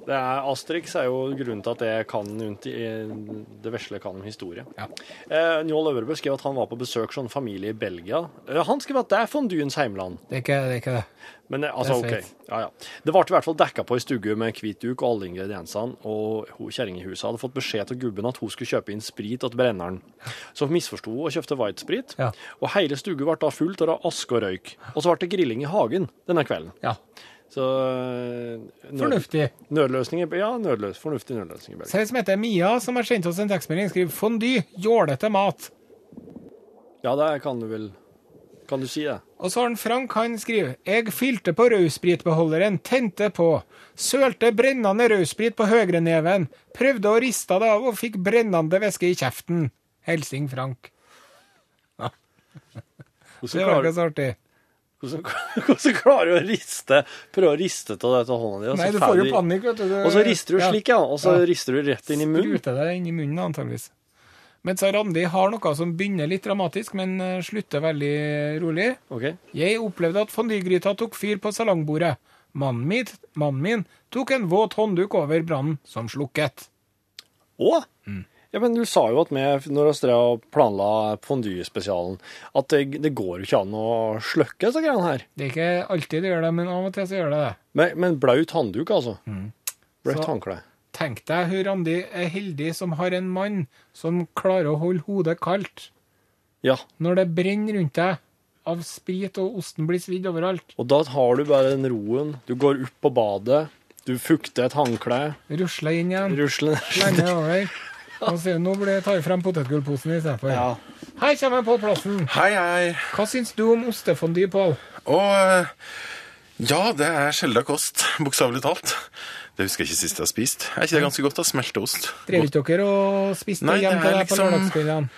[SPEAKER 4] Det er, Asterix er jo grunnen til at jeg kan rundt i, det vesle kan om historie.
[SPEAKER 3] Ja.
[SPEAKER 4] Eh, Njål Øvrebø skrev at han var på besøk hos en familie i Belgia. Eh, han skrev at det er fonduens heimland.
[SPEAKER 3] Det er ikke det. Er ikke det.
[SPEAKER 4] Men eh, altså,
[SPEAKER 3] Det er
[SPEAKER 4] OK. Ja, ja. Det ble i hvert fall dekka på i stugge med hvit duk og alle ingrediensene, og hun- kjerringa i huset hadde fått beskjed til gubben at hun skulle kjøpe inn sprit til brenneren. Så hun misforsto og kjøpte whitesprit,
[SPEAKER 3] Ja.
[SPEAKER 4] og hele stugga ble da fullt av aske og røyk. Og så ble det grilling i hagen denne kvelden.
[SPEAKER 3] Ja.
[SPEAKER 4] Så eh, nød,
[SPEAKER 3] Fornuftig.
[SPEAKER 4] Nødløsning i Bel- Ja, nødløs, fornuftig nødløsning i Belgia.
[SPEAKER 3] Selv som heter Mia, som har sendt oss en tekstmelding, skriver 'fondy, jålete mat'.
[SPEAKER 4] Ja, det kan du vel Kan du si det?
[SPEAKER 3] Og så har han Frank, han skriver 'Jeg fylte på rødspritbeholderen, tente på'. Sølte brennende rødsprit på høyreneven. Prøvde å riste det av og fikk brennende væske i kjeften. Hilsing Frank. Det
[SPEAKER 4] Hvordan
[SPEAKER 3] sånn. var
[SPEAKER 4] klarer,
[SPEAKER 3] ikke så artig.
[SPEAKER 4] hvordan, hvordan klarer du å riste Prøve å riste av det til hånda di? og så
[SPEAKER 3] Nei, du får jo
[SPEAKER 4] ferdig-
[SPEAKER 3] panikk, vet du. Du-
[SPEAKER 4] Og så rister du
[SPEAKER 3] Ja.
[SPEAKER 4] slik, ja. Og så
[SPEAKER 3] Ja.
[SPEAKER 4] rister du rett inn i munnen.
[SPEAKER 3] Sprute deg inn i munnen, antageligvis. Men så Randi har noe som begynner litt dramatisk, men eh, slutter veldig rolig.
[SPEAKER 4] Ok.
[SPEAKER 3] Jeg opplevde at fondygryta tok fyr på salongbordet. Mannen min, mannen min tok en våt håndduk over brannen, som slukket.
[SPEAKER 4] Å? Ja, men du sa jo at med, når vi drev og planla fondyespesialen, at det, det går jo ikke an å slukke disse greiene her.
[SPEAKER 3] Det er ikke alltid det gjør det, men av og til så gjør det det.
[SPEAKER 4] Men, men blaut handduk, altså. Blaut
[SPEAKER 3] Så-
[SPEAKER 4] håndkle.
[SPEAKER 3] Tenk deg hun Randi er heldig som har en mann som klarer å holde hodet kaldt
[SPEAKER 4] Ja.
[SPEAKER 3] når det brenner rundt deg av sprit og osten blir svidd overalt.
[SPEAKER 4] Og da har du bare den roen. Du går opp på badet, du fukter et håndkle,
[SPEAKER 3] Rusler inn igjen,
[SPEAKER 4] rusler ned
[SPEAKER 3] slenger over. Og så nå blir jeg tar jeg frem potetgullposen istedenfor.
[SPEAKER 4] Ja.
[SPEAKER 3] Her kommer Pål Plassen.
[SPEAKER 7] Hei, hei.
[SPEAKER 3] Hva syns du om ostefondy, Pål?
[SPEAKER 7] Og eh, ja, det er sjelda kost, bokstavelig talt. Det husker jeg ikke sist jeg har spist. Er ikke det ganske godt, da? Smelteost.
[SPEAKER 3] Drev ikke dere og spiste
[SPEAKER 7] Nei,
[SPEAKER 3] Nei,
[SPEAKER 7] det
[SPEAKER 3] hjem til
[SPEAKER 7] er
[SPEAKER 3] deg på
[SPEAKER 7] liksom-
[SPEAKER 3] lørdagskveldene?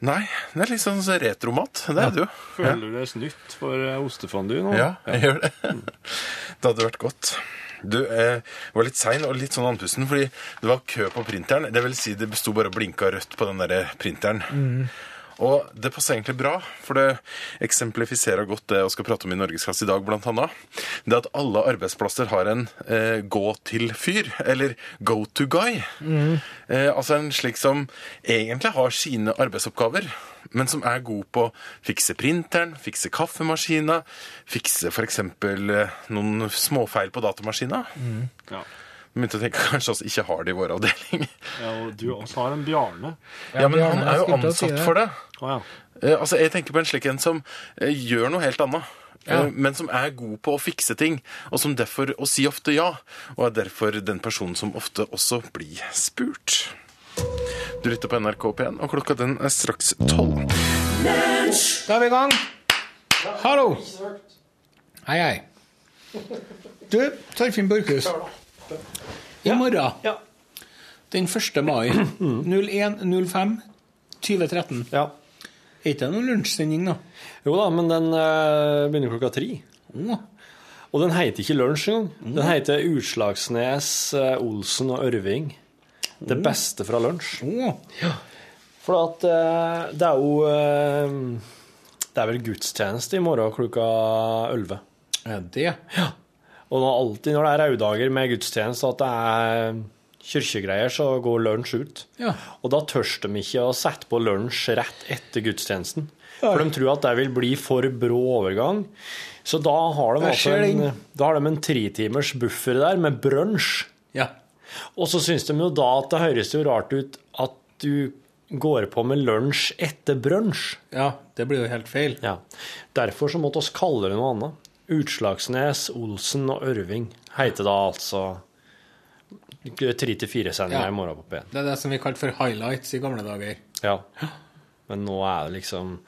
[SPEAKER 7] Nei, det er litt sånn retromat. Det er det jo.
[SPEAKER 4] Føler du deg snytt for ostefondy nå?
[SPEAKER 7] Ja, jeg gjør det. Det hadde vært godt. Du eh, var litt sein og litt sånn andpusten, fordi det var kø på printeren. Det vil si det besto bare og blinka rødt på den der printeren. Og det passer egentlig bra, for det eksemplifiserer godt det jeg skal prate om i Norgesklasse i dag, blant annet. Det at alle arbeidsplasser har en eh, gå-til-fyr, eller go-to-guy. Eh, altså en slik som egentlig har sine arbeidsoppgaver, men som er god på å fikse printeren, fikse kaffemaskina, fikse f.eks. noen småfeil på datamaskina.
[SPEAKER 4] Ja.
[SPEAKER 7] Begynte å tenke kanskje oss ikke har det i vår avdeling.
[SPEAKER 4] ja og du også har en Bjarne.
[SPEAKER 7] Ja, men han er jo ansatt for det.
[SPEAKER 4] Å ja.
[SPEAKER 7] Eh, altså, jeg tenker på en slik en som eh, gjør noe helt annet. eh, Men som er god på å fikse ting, og som derfor og si ofte ja. Og er derfor den personen som ofte også blir spurt. Du lytter på NRK P1, og klokka den er straks tolv.
[SPEAKER 3] Da er vi i gang. Hallo. Hei, hei. Du, Torfinn Borchhus. I morgen,
[SPEAKER 4] Ja.
[SPEAKER 3] den 1. mai 01.05.2013,
[SPEAKER 4] ja.
[SPEAKER 3] er ikke det noen lunsjsending, da?
[SPEAKER 4] Jo da, men den eh, begynner klokka tre.
[SPEAKER 3] Å,
[SPEAKER 4] Og den heter ikke Lunsj engang. Den heter Utslagsnes, eh, Olsen og Ørving. Det beste fra lunsj.
[SPEAKER 3] å.
[SPEAKER 4] For at eh, det er jo eh, Det er vel gudstjeneste i morgen klokka elleve.
[SPEAKER 3] Er det?
[SPEAKER 4] Og nå alltid når det er røddager med gudstjeneste, at det er kirkegreier, så går lunsj ut.
[SPEAKER 3] Ja.
[SPEAKER 4] Og da tør de ikke å sette på lunsj rett etter gudstjenesten. For de tror at det vil bli for brå overgang. Så da har de,
[SPEAKER 3] Jeg
[SPEAKER 4] altså
[SPEAKER 3] ser
[SPEAKER 4] en,
[SPEAKER 3] den.
[SPEAKER 4] da har de en tritimers buffer der med brunsj.
[SPEAKER 3] Ja.
[SPEAKER 4] Og så syns de jo da at det høres jo rart ut at du går på med lunsj etter brunsj.
[SPEAKER 3] ja. Det blir jo helt feil.
[SPEAKER 4] Ja. Derfor så måtte oss kalle det noe annet. Utslagsnes, Olsen og Ørving heter da altså tre til fire sendinger
[SPEAKER 3] Ja.
[SPEAKER 4] i morgen på P1.
[SPEAKER 3] Det er det som vi kalte for highlights i gamle dager.
[SPEAKER 4] Ja. Men nå er det liksom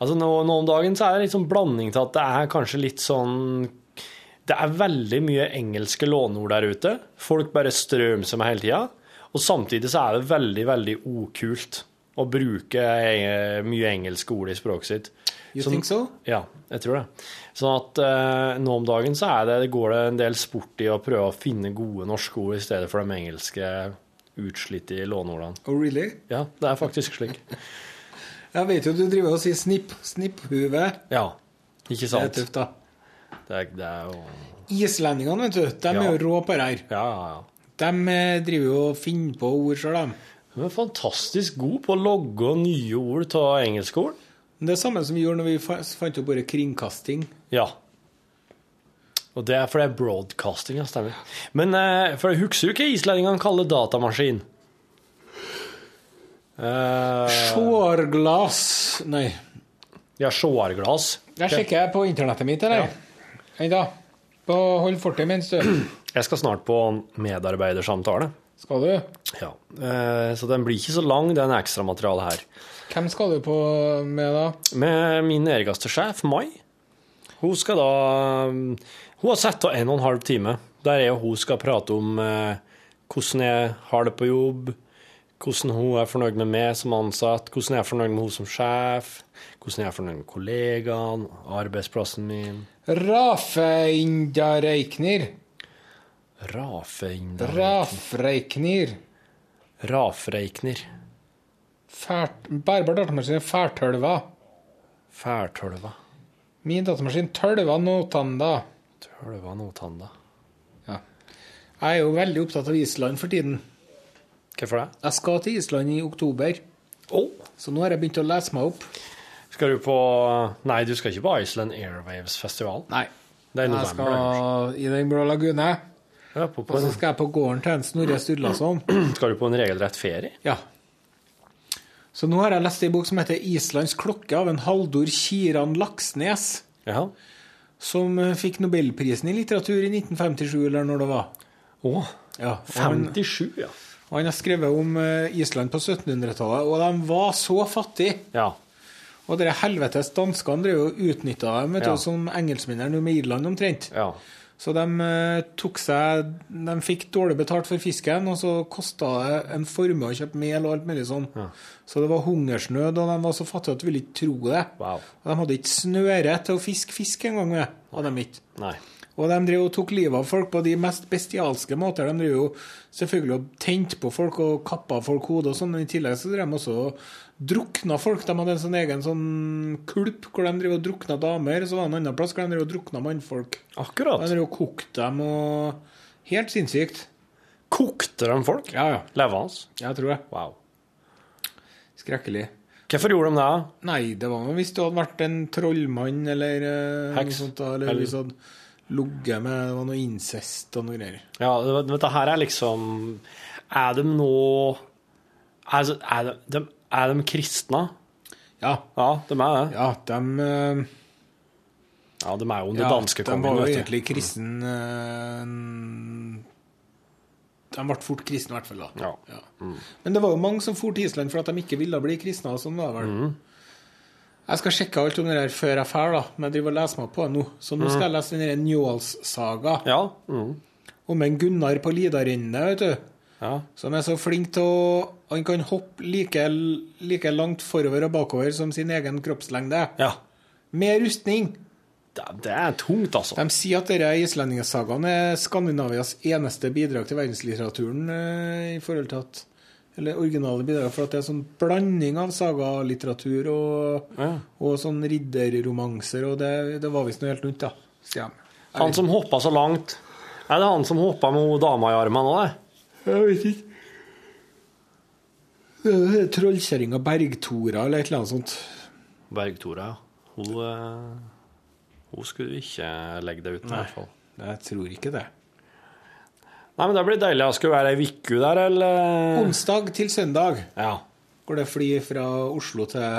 [SPEAKER 4] Altså nå, nå om dagen så er det litt sånn blanding til at det er kanskje litt sånn Det er veldig mye engelske låneord der ute. Folk bare strømser med hele tida. Og samtidig så er det veldig, veldig okult å bruke eh, mye engelske ord i språket sitt.
[SPEAKER 3] You
[SPEAKER 4] Sånn-
[SPEAKER 3] think so?
[SPEAKER 4] Ja, jeg tror det. Sånn at eh, nå om dagen så er det, det går det en del sport i å prøve å finne gode norske ord i stedet for de engelske utslitte låneordene.
[SPEAKER 3] Oh, really?
[SPEAKER 4] Ja, det er faktisk slik.
[SPEAKER 3] Jeg vet jo du driver og sier snipp, snipp-hue.
[SPEAKER 4] Ja, ikke
[SPEAKER 3] Det er
[SPEAKER 4] sant?
[SPEAKER 3] tøft, da.
[SPEAKER 4] Det er, det er jo
[SPEAKER 3] Islendingene, vet du, de er
[SPEAKER 4] Ja.
[SPEAKER 3] jo rå på det her.
[SPEAKER 4] Ja, ja, ja.
[SPEAKER 3] De eh, driver jo og finner på ord sjøl, de.
[SPEAKER 4] De er fantastisk gode på å logge nye ord av engelskord.
[SPEAKER 3] Men Det er samme som vi gjorde når vi fa- fant opp ordet kringkasting.
[SPEAKER 4] Ja. Og det er for det er broadcasting, ja, stemmer. Men eh, for jeg husker jo hva islendingene kaller datamaskin. Eh,
[SPEAKER 3] Sjårglass Nei.
[SPEAKER 4] ja, sjåarglass.
[SPEAKER 3] Jeg sjekker jeg på internettet mitt, eller? Hei da. På Hold fortet mens, du.
[SPEAKER 4] Jeg skal snart på medarbeidersamtale.
[SPEAKER 3] Skal du?
[SPEAKER 4] Ja. Eh, så den blir ikke så lang, den ekstramaterialet her.
[SPEAKER 3] Hvem skal du på med, da?
[SPEAKER 4] Med min nærmeste sjef, Mai. Hun skal da Hun har satt av en og en halv time der jeg og hun skal prate om eh, hvordan jeg har det på jobb, hvordan hun er fornøyd med meg som ansatt, hvordan jeg er fornøyd med hun som sjef, hvordan jeg er fornøyd med kollegaene, arbeidsplassen min
[SPEAKER 3] Rafeindareiknir.
[SPEAKER 4] Rafeindar...
[SPEAKER 3] Rafreiknir.
[SPEAKER 4] Rafreikner.
[SPEAKER 3] Fært, bærbar datamaskin er færtølva.
[SPEAKER 4] Færtølva.
[SPEAKER 3] Min datamaskin tølva notanda.
[SPEAKER 4] Tølva notanda.
[SPEAKER 3] Jeg er jo veldig opptatt av Island for tiden.
[SPEAKER 4] Hvorfor det?
[SPEAKER 3] Jeg skal til Island i oktober,
[SPEAKER 4] Å!
[SPEAKER 3] så nå har jeg begynt å lese meg opp.
[SPEAKER 4] Skal du på Nei, du skal ikke på Iceland Airwaves-festivalen.
[SPEAKER 3] Nei.
[SPEAKER 4] Det er i
[SPEAKER 3] Jeg
[SPEAKER 4] november. det, kanskje.
[SPEAKER 3] skal i Den blå lagune,
[SPEAKER 4] Ja, på,
[SPEAKER 3] og
[SPEAKER 4] på,
[SPEAKER 3] så skal jeg på gården til en Snorre Sturlason.
[SPEAKER 4] Skal du på en regelrett ferie?
[SPEAKER 3] Ja. Så nå har jeg lest ei bok som heter 'Islands klokke' av en Haldor Kiran Laksnes,
[SPEAKER 4] Ja.
[SPEAKER 3] som eh, fikk Nobelprisen i litteratur i 1957, eller når det var.
[SPEAKER 4] Å,
[SPEAKER 3] Ja, og han,
[SPEAKER 4] 57, ja.
[SPEAKER 3] og han har skrevet om eh, Island på 1700-tallet, og de var så fattige.
[SPEAKER 4] Ja.
[SPEAKER 3] Og dere helvetes danskene drev jo og utnytta dem, vet
[SPEAKER 4] Ja.
[SPEAKER 3] du, som engelskmennene gjorde med Irland omtrent.
[SPEAKER 4] ja.
[SPEAKER 3] Så de eh, tok seg De fikk dårlig betalt for fisken, og så kosta det en formue å kjøpe mel og alt mulig sånn. Så det var hungersnød, og de var så fattige at du ville ikke tro det.
[SPEAKER 4] Wow.
[SPEAKER 3] Og de hadde ikke snøre til å fiske fisk engang, med, hadde de ikke.
[SPEAKER 4] Nei.
[SPEAKER 3] Og de drev og tok livet av folk på de mest bestialske måter. De drev jo selvfølgelig og tente på folk og kappa folk hodet og sånn, men i tillegg så drev de også og drukna folk. De hadde en sånn egen sånn kulp hvor de drev og drukna damer, så var det en annen plass hvor de drev og drukna mannfolk. Og
[SPEAKER 4] Akkurat.
[SPEAKER 3] de drev og kokte dem og Helt sinnssykt.
[SPEAKER 4] Kokte de folk?
[SPEAKER 3] Ja, ja.
[SPEAKER 4] Levende?
[SPEAKER 3] Jeg tror det.
[SPEAKER 4] Wow.
[SPEAKER 3] Skrekkelig.
[SPEAKER 4] Hvorfor gjorde de det?
[SPEAKER 3] Nei, det var noe hvis du hadde vært en trollmann eller eh,
[SPEAKER 4] Heks.
[SPEAKER 3] noe sånt. da, Eller
[SPEAKER 4] Eller-
[SPEAKER 3] hvis du hadde ligget med Det var noe incest og noe greier.
[SPEAKER 4] Ja, det- dette her er liksom Er de nå Altså, er de, de, er de kristne?
[SPEAKER 3] Ja.
[SPEAKER 4] Ja, de er det.
[SPEAKER 3] Ja, de eh,
[SPEAKER 4] Ja, de er jo under
[SPEAKER 3] ja, De
[SPEAKER 4] danskekongen,
[SPEAKER 3] var jo
[SPEAKER 4] vet du.
[SPEAKER 3] egentlig kristen eh, De ble fort kristne, i hvert fall. da.
[SPEAKER 4] Ja. Mm.
[SPEAKER 3] Men det var jo mange som for til Island for at de ikke ville bli kristne. og sånn var det vel.
[SPEAKER 4] Mm.
[SPEAKER 3] Jeg skal sjekke alt om det her før jeg drar, da. men jeg driver og leser meg på det nå. Så nå skal jeg lese den her Njåls-saga
[SPEAKER 4] Ja. Mm.
[SPEAKER 3] om en Gunnar på Lidarinne, vet du.
[SPEAKER 4] ja.
[SPEAKER 3] Som er så flink til å Han kan hoppe like, like langt forover og bakover som sin egen kroppslengde.
[SPEAKER 4] ja.
[SPEAKER 3] Med rustning!
[SPEAKER 4] Det, det er tungt, altså.
[SPEAKER 3] De sier at denne islendingsagaen er Skandinavias eneste bidrag til verdenslitteraturen eh, i forhold til at eller originale bidrag, for at det er sånn blanding av sagalitteratur og,
[SPEAKER 4] Ja.
[SPEAKER 3] og sånn ridderromanser, og det, det var visst noe helt nytt, da. sier de.
[SPEAKER 4] Han som hoppa så langt Er det han som hoppa med hun dama i armen òg, det?
[SPEAKER 3] Jeg vet ikke. Det er det Trollkjerringa Bergtora eller et eller annet sånt.
[SPEAKER 4] Bergtora, ja. Hun, eh, hun skulle du ikke legge deg ut med, i hvert fall.
[SPEAKER 3] Jeg tror ikke det.
[SPEAKER 4] Nei, men det blir deilig. Jeg skulle være ei uke der, eller
[SPEAKER 3] Onsdag til søndag
[SPEAKER 4] Ja.
[SPEAKER 3] går det fly fra Oslo til,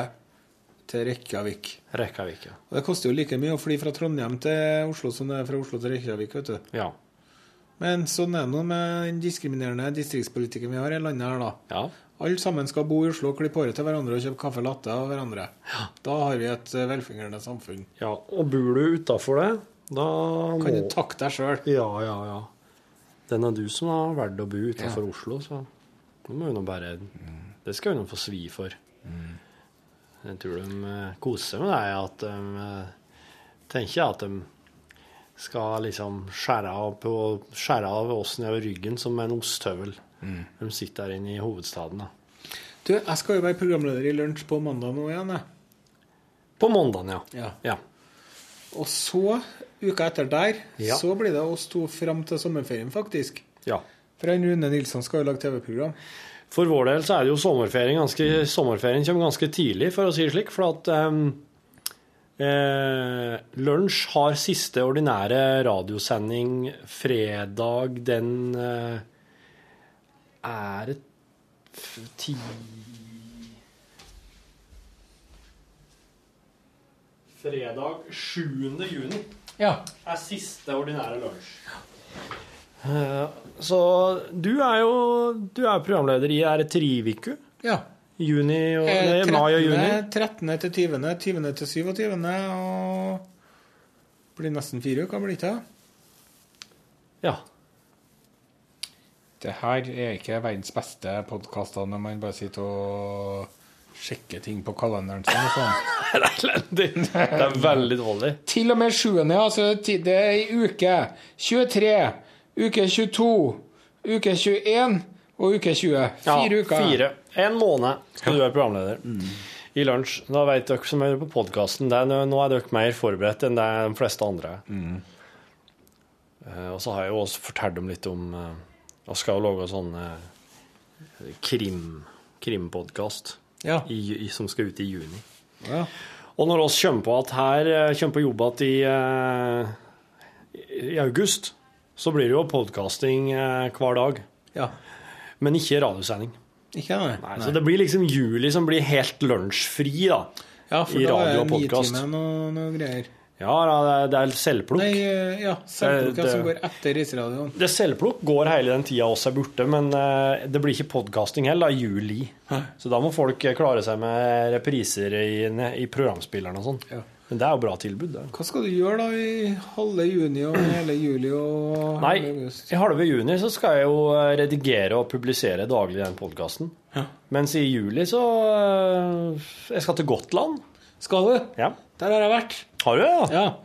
[SPEAKER 3] til Reykjavik.
[SPEAKER 4] Rekkavik, ja.
[SPEAKER 3] Og det koster jo like mye å fly fra Trondheim til Oslo som det er fra Oslo til Reykjavik, vet du.
[SPEAKER 4] Ja.
[SPEAKER 3] Men sånn er det nå med den diskriminerende distriktspolitikken vi har i landet her, da.
[SPEAKER 4] ja.
[SPEAKER 3] Alle sammen skal bo i Oslo og klippe håret til hverandre og kjøpe kaffe latte av hverandre. Da har vi et eh, velfungerende samfunn.
[SPEAKER 4] ja. Og bor du utafor det, da må
[SPEAKER 3] Kan du takke deg sjøl?
[SPEAKER 4] Ja, ja, ja. Den er du som har valgt å bo utafor Oslo, så nå må hun nå bare Det skal hun nå få svi for. Jeg tror de eh, koser seg med deg, at de eh, tenker at de skal liksom skjære av, på, skjære av oss nedover ryggen som en ostehøvel. De sitter der inne i hovedstaden. da.
[SPEAKER 3] Du, jeg skal jo være programleder i Lunsj på mandag nå igjen, jeg.
[SPEAKER 4] På mandagen, ja.
[SPEAKER 3] Ja.
[SPEAKER 4] ja.
[SPEAKER 3] Og så Uka etter der,
[SPEAKER 4] Ja.
[SPEAKER 3] så blir det oss to fram til sommerferien, faktisk.
[SPEAKER 4] Ja.
[SPEAKER 3] For han Rune Nilsson skal jo lage TV-program.
[SPEAKER 4] For vår del så er det jo sommerferien ganske, sommerferien kommer ganske tidlig, for å si det slik. For at em, eh, Lunsj har siste ordinære radiosending fredag den eh, Er det f- ti Fredag 7. juni
[SPEAKER 3] Ja.
[SPEAKER 4] er siste ordinære lunsj. Eh, Så du er jo du er programleder i er det Triviku.
[SPEAKER 3] ja.
[SPEAKER 4] Juni og,
[SPEAKER 3] Eh,
[SPEAKER 4] nei, mai og juni.
[SPEAKER 3] 13. til 20., 20. til 27., og blir nesten fire uker, blir det ikke?
[SPEAKER 4] Ja.
[SPEAKER 3] Det her er ikke verdens beste podkaster når man bare sitter og sjekker ting på kalenderen sin. og sånn.
[SPEAKER 4] Det er elendig. Det er veldig dårlig.
[SPEAKER 3] Til og med 7. Altså, ti- det er ei uke. 23, uke 22, uke 21 og uke 20.
[SPEAKER 4] Ja,
[SPEAKER 3] Fire uker. Mm.
[SPEAKER 4] Fire. En måned skal du være programleder i Lunsj. Da vet dere som hører på podkasten, nå er dere mer forberedt enn det de fleste andre er. Eh, Og så har jeg jo også fortalt dem litt om eh, Jeg skal jo lage sånn eh, krim krimpodkast
[SPEAKER 3] Ja.
[SPEAKER 4] i- i- som skal ut i juni.
[SPEAKER 3] Ja.
[SPEAKER 4] Og når oss kommer på at her eh, kommer på jobb at i, eh, i august, så blir det jo podkasting hver dag.
[SPEAKER 3] ja.
[SPEAKER 4] Men ikke radiosending.
[SPEAKER 3] Ikke det?
[SPEAKER 4] Nei, Så det blir liksom juli som blir helt lunsjfri, da.
[SPEAKER 3] Ja, for
[SPEAKER 4] i
[SPEAKER 3] da er
[SPEAKER 4] radio og
[SPEAKER 3] det
[SPEAKER 4] podcast.
[SPEAKER 3] Nitimen og noe greier.
[SPEAKER 4] Ja, da, det er- det er selvplukk.
[SPEAKER 3] Nei, eh, ja. Selvplukka
[SPEAKER 4] Eh, det-
[SPEAKER 3] som går etter reiseradioen.
[SPEAKER 4] Det selvplukk går hele den tida oss er borte, men eh, det blir ikke podkasting heller i juli. Så da må folk eh, klare seg med repriser i, i programspilleren og sånn.
[SPEAKER 3] Ja.
[SPEAKER 4] Men det er jo bra tilbud, det.
[SPEAKER 3] Hva skal du gjøre da i halve juni og hele juli og
[SPEAKER 4] Nei,
[SPEAKER 3] halve august?
[SPEAKER 4] i halve juni så skal jeg jo eh, redigere og publisere daglig den podkasten. Mens i juli så eh, Jeg skal til Gotland.
[SPEAKER 3] Skal du?
[SPEAKER 4] Ja.
[SPEAKER 3] Der har jeg vært.
[SPEAKER 4] Har du det? Ja.
[SPEAKER 3] Ja.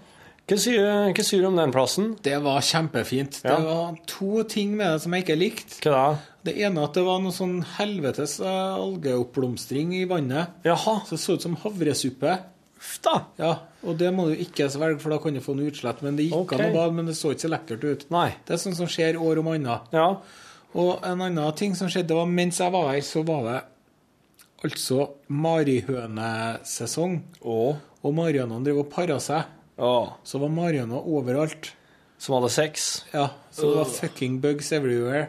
[SPEAKER 4] Hva sier hva sier du om den plassen?
[SPEAKER 3] Det var kjempefint.
[SPEAKER 4] Ja.
[SPEAKER 3] Det var to ting med det som jeg ikke likte.
[SPEAKER 4] Hva da?
[SPEAKER 3] Det ene at det var noe sånn helvetes eh, algeoppblomstring i vannet.
[SPEAKER 4] Jaha,
[SPEAKER 3] Så det så ut som havresuppe.
[SPEAKER 4] uff da.
[SPEAKER 3] Ja, og det må du ikke svelge, for da kan du få noe utslett. Men det gikk
[SPEAKER 4] Ok.
[SPEAKER 3] an å bade, men det så ikke så lekkert ut.
[SPEAKER 4] Nei.
[SPEAKER 3] Det er sånt som skjer år om annet.
[SPEAKER 4] Ja.
[SPEAKER 3] Og en annen ting som skjedde, var mens jeg var her, så var det altså marihønesesong.
[SPEAKER 4] Og?
[SPEAKER 3] Og marihønene drev og para seg. Så var marihøna overalt.
[SPEAKER 4] Som hadde sex?
[SPEAKER 3] Ja, så det var fucking bugs everywhere.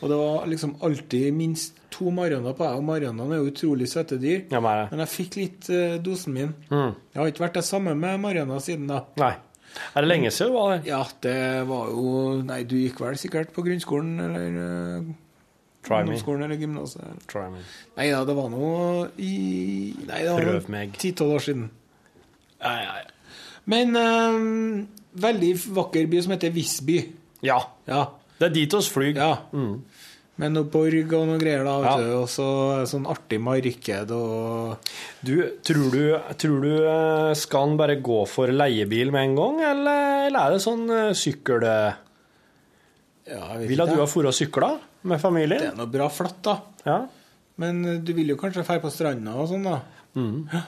[SPEAKER 3] Og det var liksom alltid minst to marihøner på deg. Og marihønene er jo utrolig søte dyr.
[SPEAKER 4] Ja, men Mm. er det?
[SPEAKER 3] Men jeg fikk litt eh, dosen min. Jeg har ikke vært det samme med marihøna siden da.
[SPEAKER 4] Nei. Er det lenge siden du var der?
[SPEAKER 3] Ja, det var jo Nei, du gikk vel sikkert på grunnskolen eller eh,
[SPEAKER 4] Try me.
[SPEAKER 3] ungdomsskolen eller gymnaset.
[SPEAKER 4] Try me.
[SPEAKER 3] Nei da, det var noe i Nei, det
[SPEAKER 4] Prøv
[SPEAKER 3] var
[SPEAKER 4] meg.
[SPEAKER 3] ti-tolv år siden.
[SPEAKER 4] Ja, ja, ja.
[SPEAKER 3] Men eh, veldig vakker by som heter Visby.
[SPEAKER 4] ja.
[SPEAKER 3] Ja.
[SPEAKER 4] Det er dit oss flyr.
[SPEAKER 3] ja. Med noe borg og noe greier, da.
[SPEAKER 4] Mm. Ja.
[SPEAKER 3] Vet du. Og så sånn artig marked og
[SPEAKER 4] Du, tror du, tror du eh, skal han bare gå for leiebil med en gang, eller, eller er det sånn eh, sykkel...
[SPEAKER 3] ja, jeg vet
[SPEAKER 4] Vil at
[SPEAKER 3] ikke.
[SPEAKER 4] du har fôret og sykla med
[SPEAKER 3] Det
[SPEAKER 4] familien?
[SPEAKER 3] er noe bra flatt, da.
[SPEAKER 4] Ja.
[SPEAKER 3] Men eh, du vil jo kanskje dra på stranda og sånn, da.
[SPEAKER 4] Mm.
[SPEAKER 3] Ja.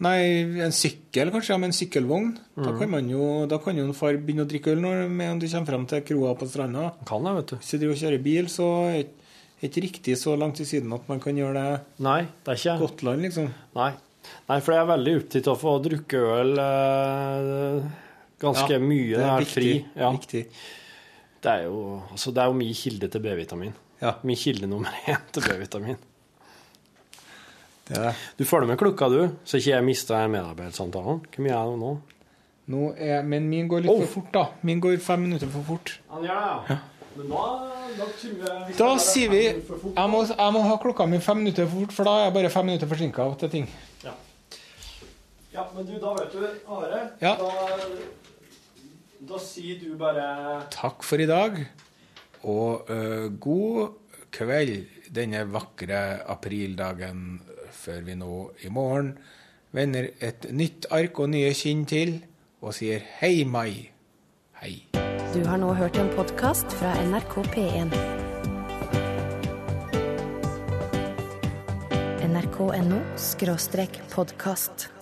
[SPEAKER 3] Nei, en sykkel kanskje, ja, med en sykkelvogn.
[SPEAKER 4] Mm.
[SPEAKER 3] Da kan man jo da kan jo en far begynne å drikke øl når med en du kommer fram til kroa på stranda.
[SPEAKER 4] Kan det, vet du.
[SPEAKER 3] Hvis du driver og kjører bil, så er det ikke- ikke riktig så langt til siden at man kan gjøre det
[SPEAKER 4] Nei, det er ikke...
[SPEAKER 3] Gotland, liksom.
[SPEAKER 4] Nei. Nei, for jeg er veldig opptatt av å drukke øl eh, ganske mye når jeg er fri.
[SPEAKER 3] viktig.
[SPEAKER 4] Ja.
[SPEAKER 3] viktig.
[SPEAKER 4] Det er jo, altså det er jo min kilde til B-vitamin.
[SPEAKER 3] Ja.
[SPEAKER 4] Min kilde nummer én til B-vitamin.
[SPEAKER 3] Det er det.
[SPEAKER 4] Du følger med klokka, du, så ikke jeg mister den medarbeidersamtalen. Hvor mye er det nå?
[SPEAKER 3] Nå er, men min går litt
[SPEAKER 4] Oh.
[SPEAKER 3] for fort, da. Min går fem minutter for fort.
[SPEAKER 4] Han gjør det, ja. Men da, tror jeg
[SPEAKER 3] Da sier vi jeg må, jeg må ha klokka mi fem minutter for fort, for da er jeg bare fem minutter forsinka til ting.
[SPEAKER 4] Ja, men du, da vet du, Are.
[SPEAKER 3] Ja.
[SPEAKER 4] Da, da sier du bare
[SPEAKER 3] Takk for i dag, og ø, god kveld denne vakre aprildagen før vi nå i morgen vender et nytt ark og nye kinn til og sier hei, Mai. Hei.
[SPEAKER 1] Du har nå hørt en podkast fra NRK P1. NRK.no skråstrek podkast.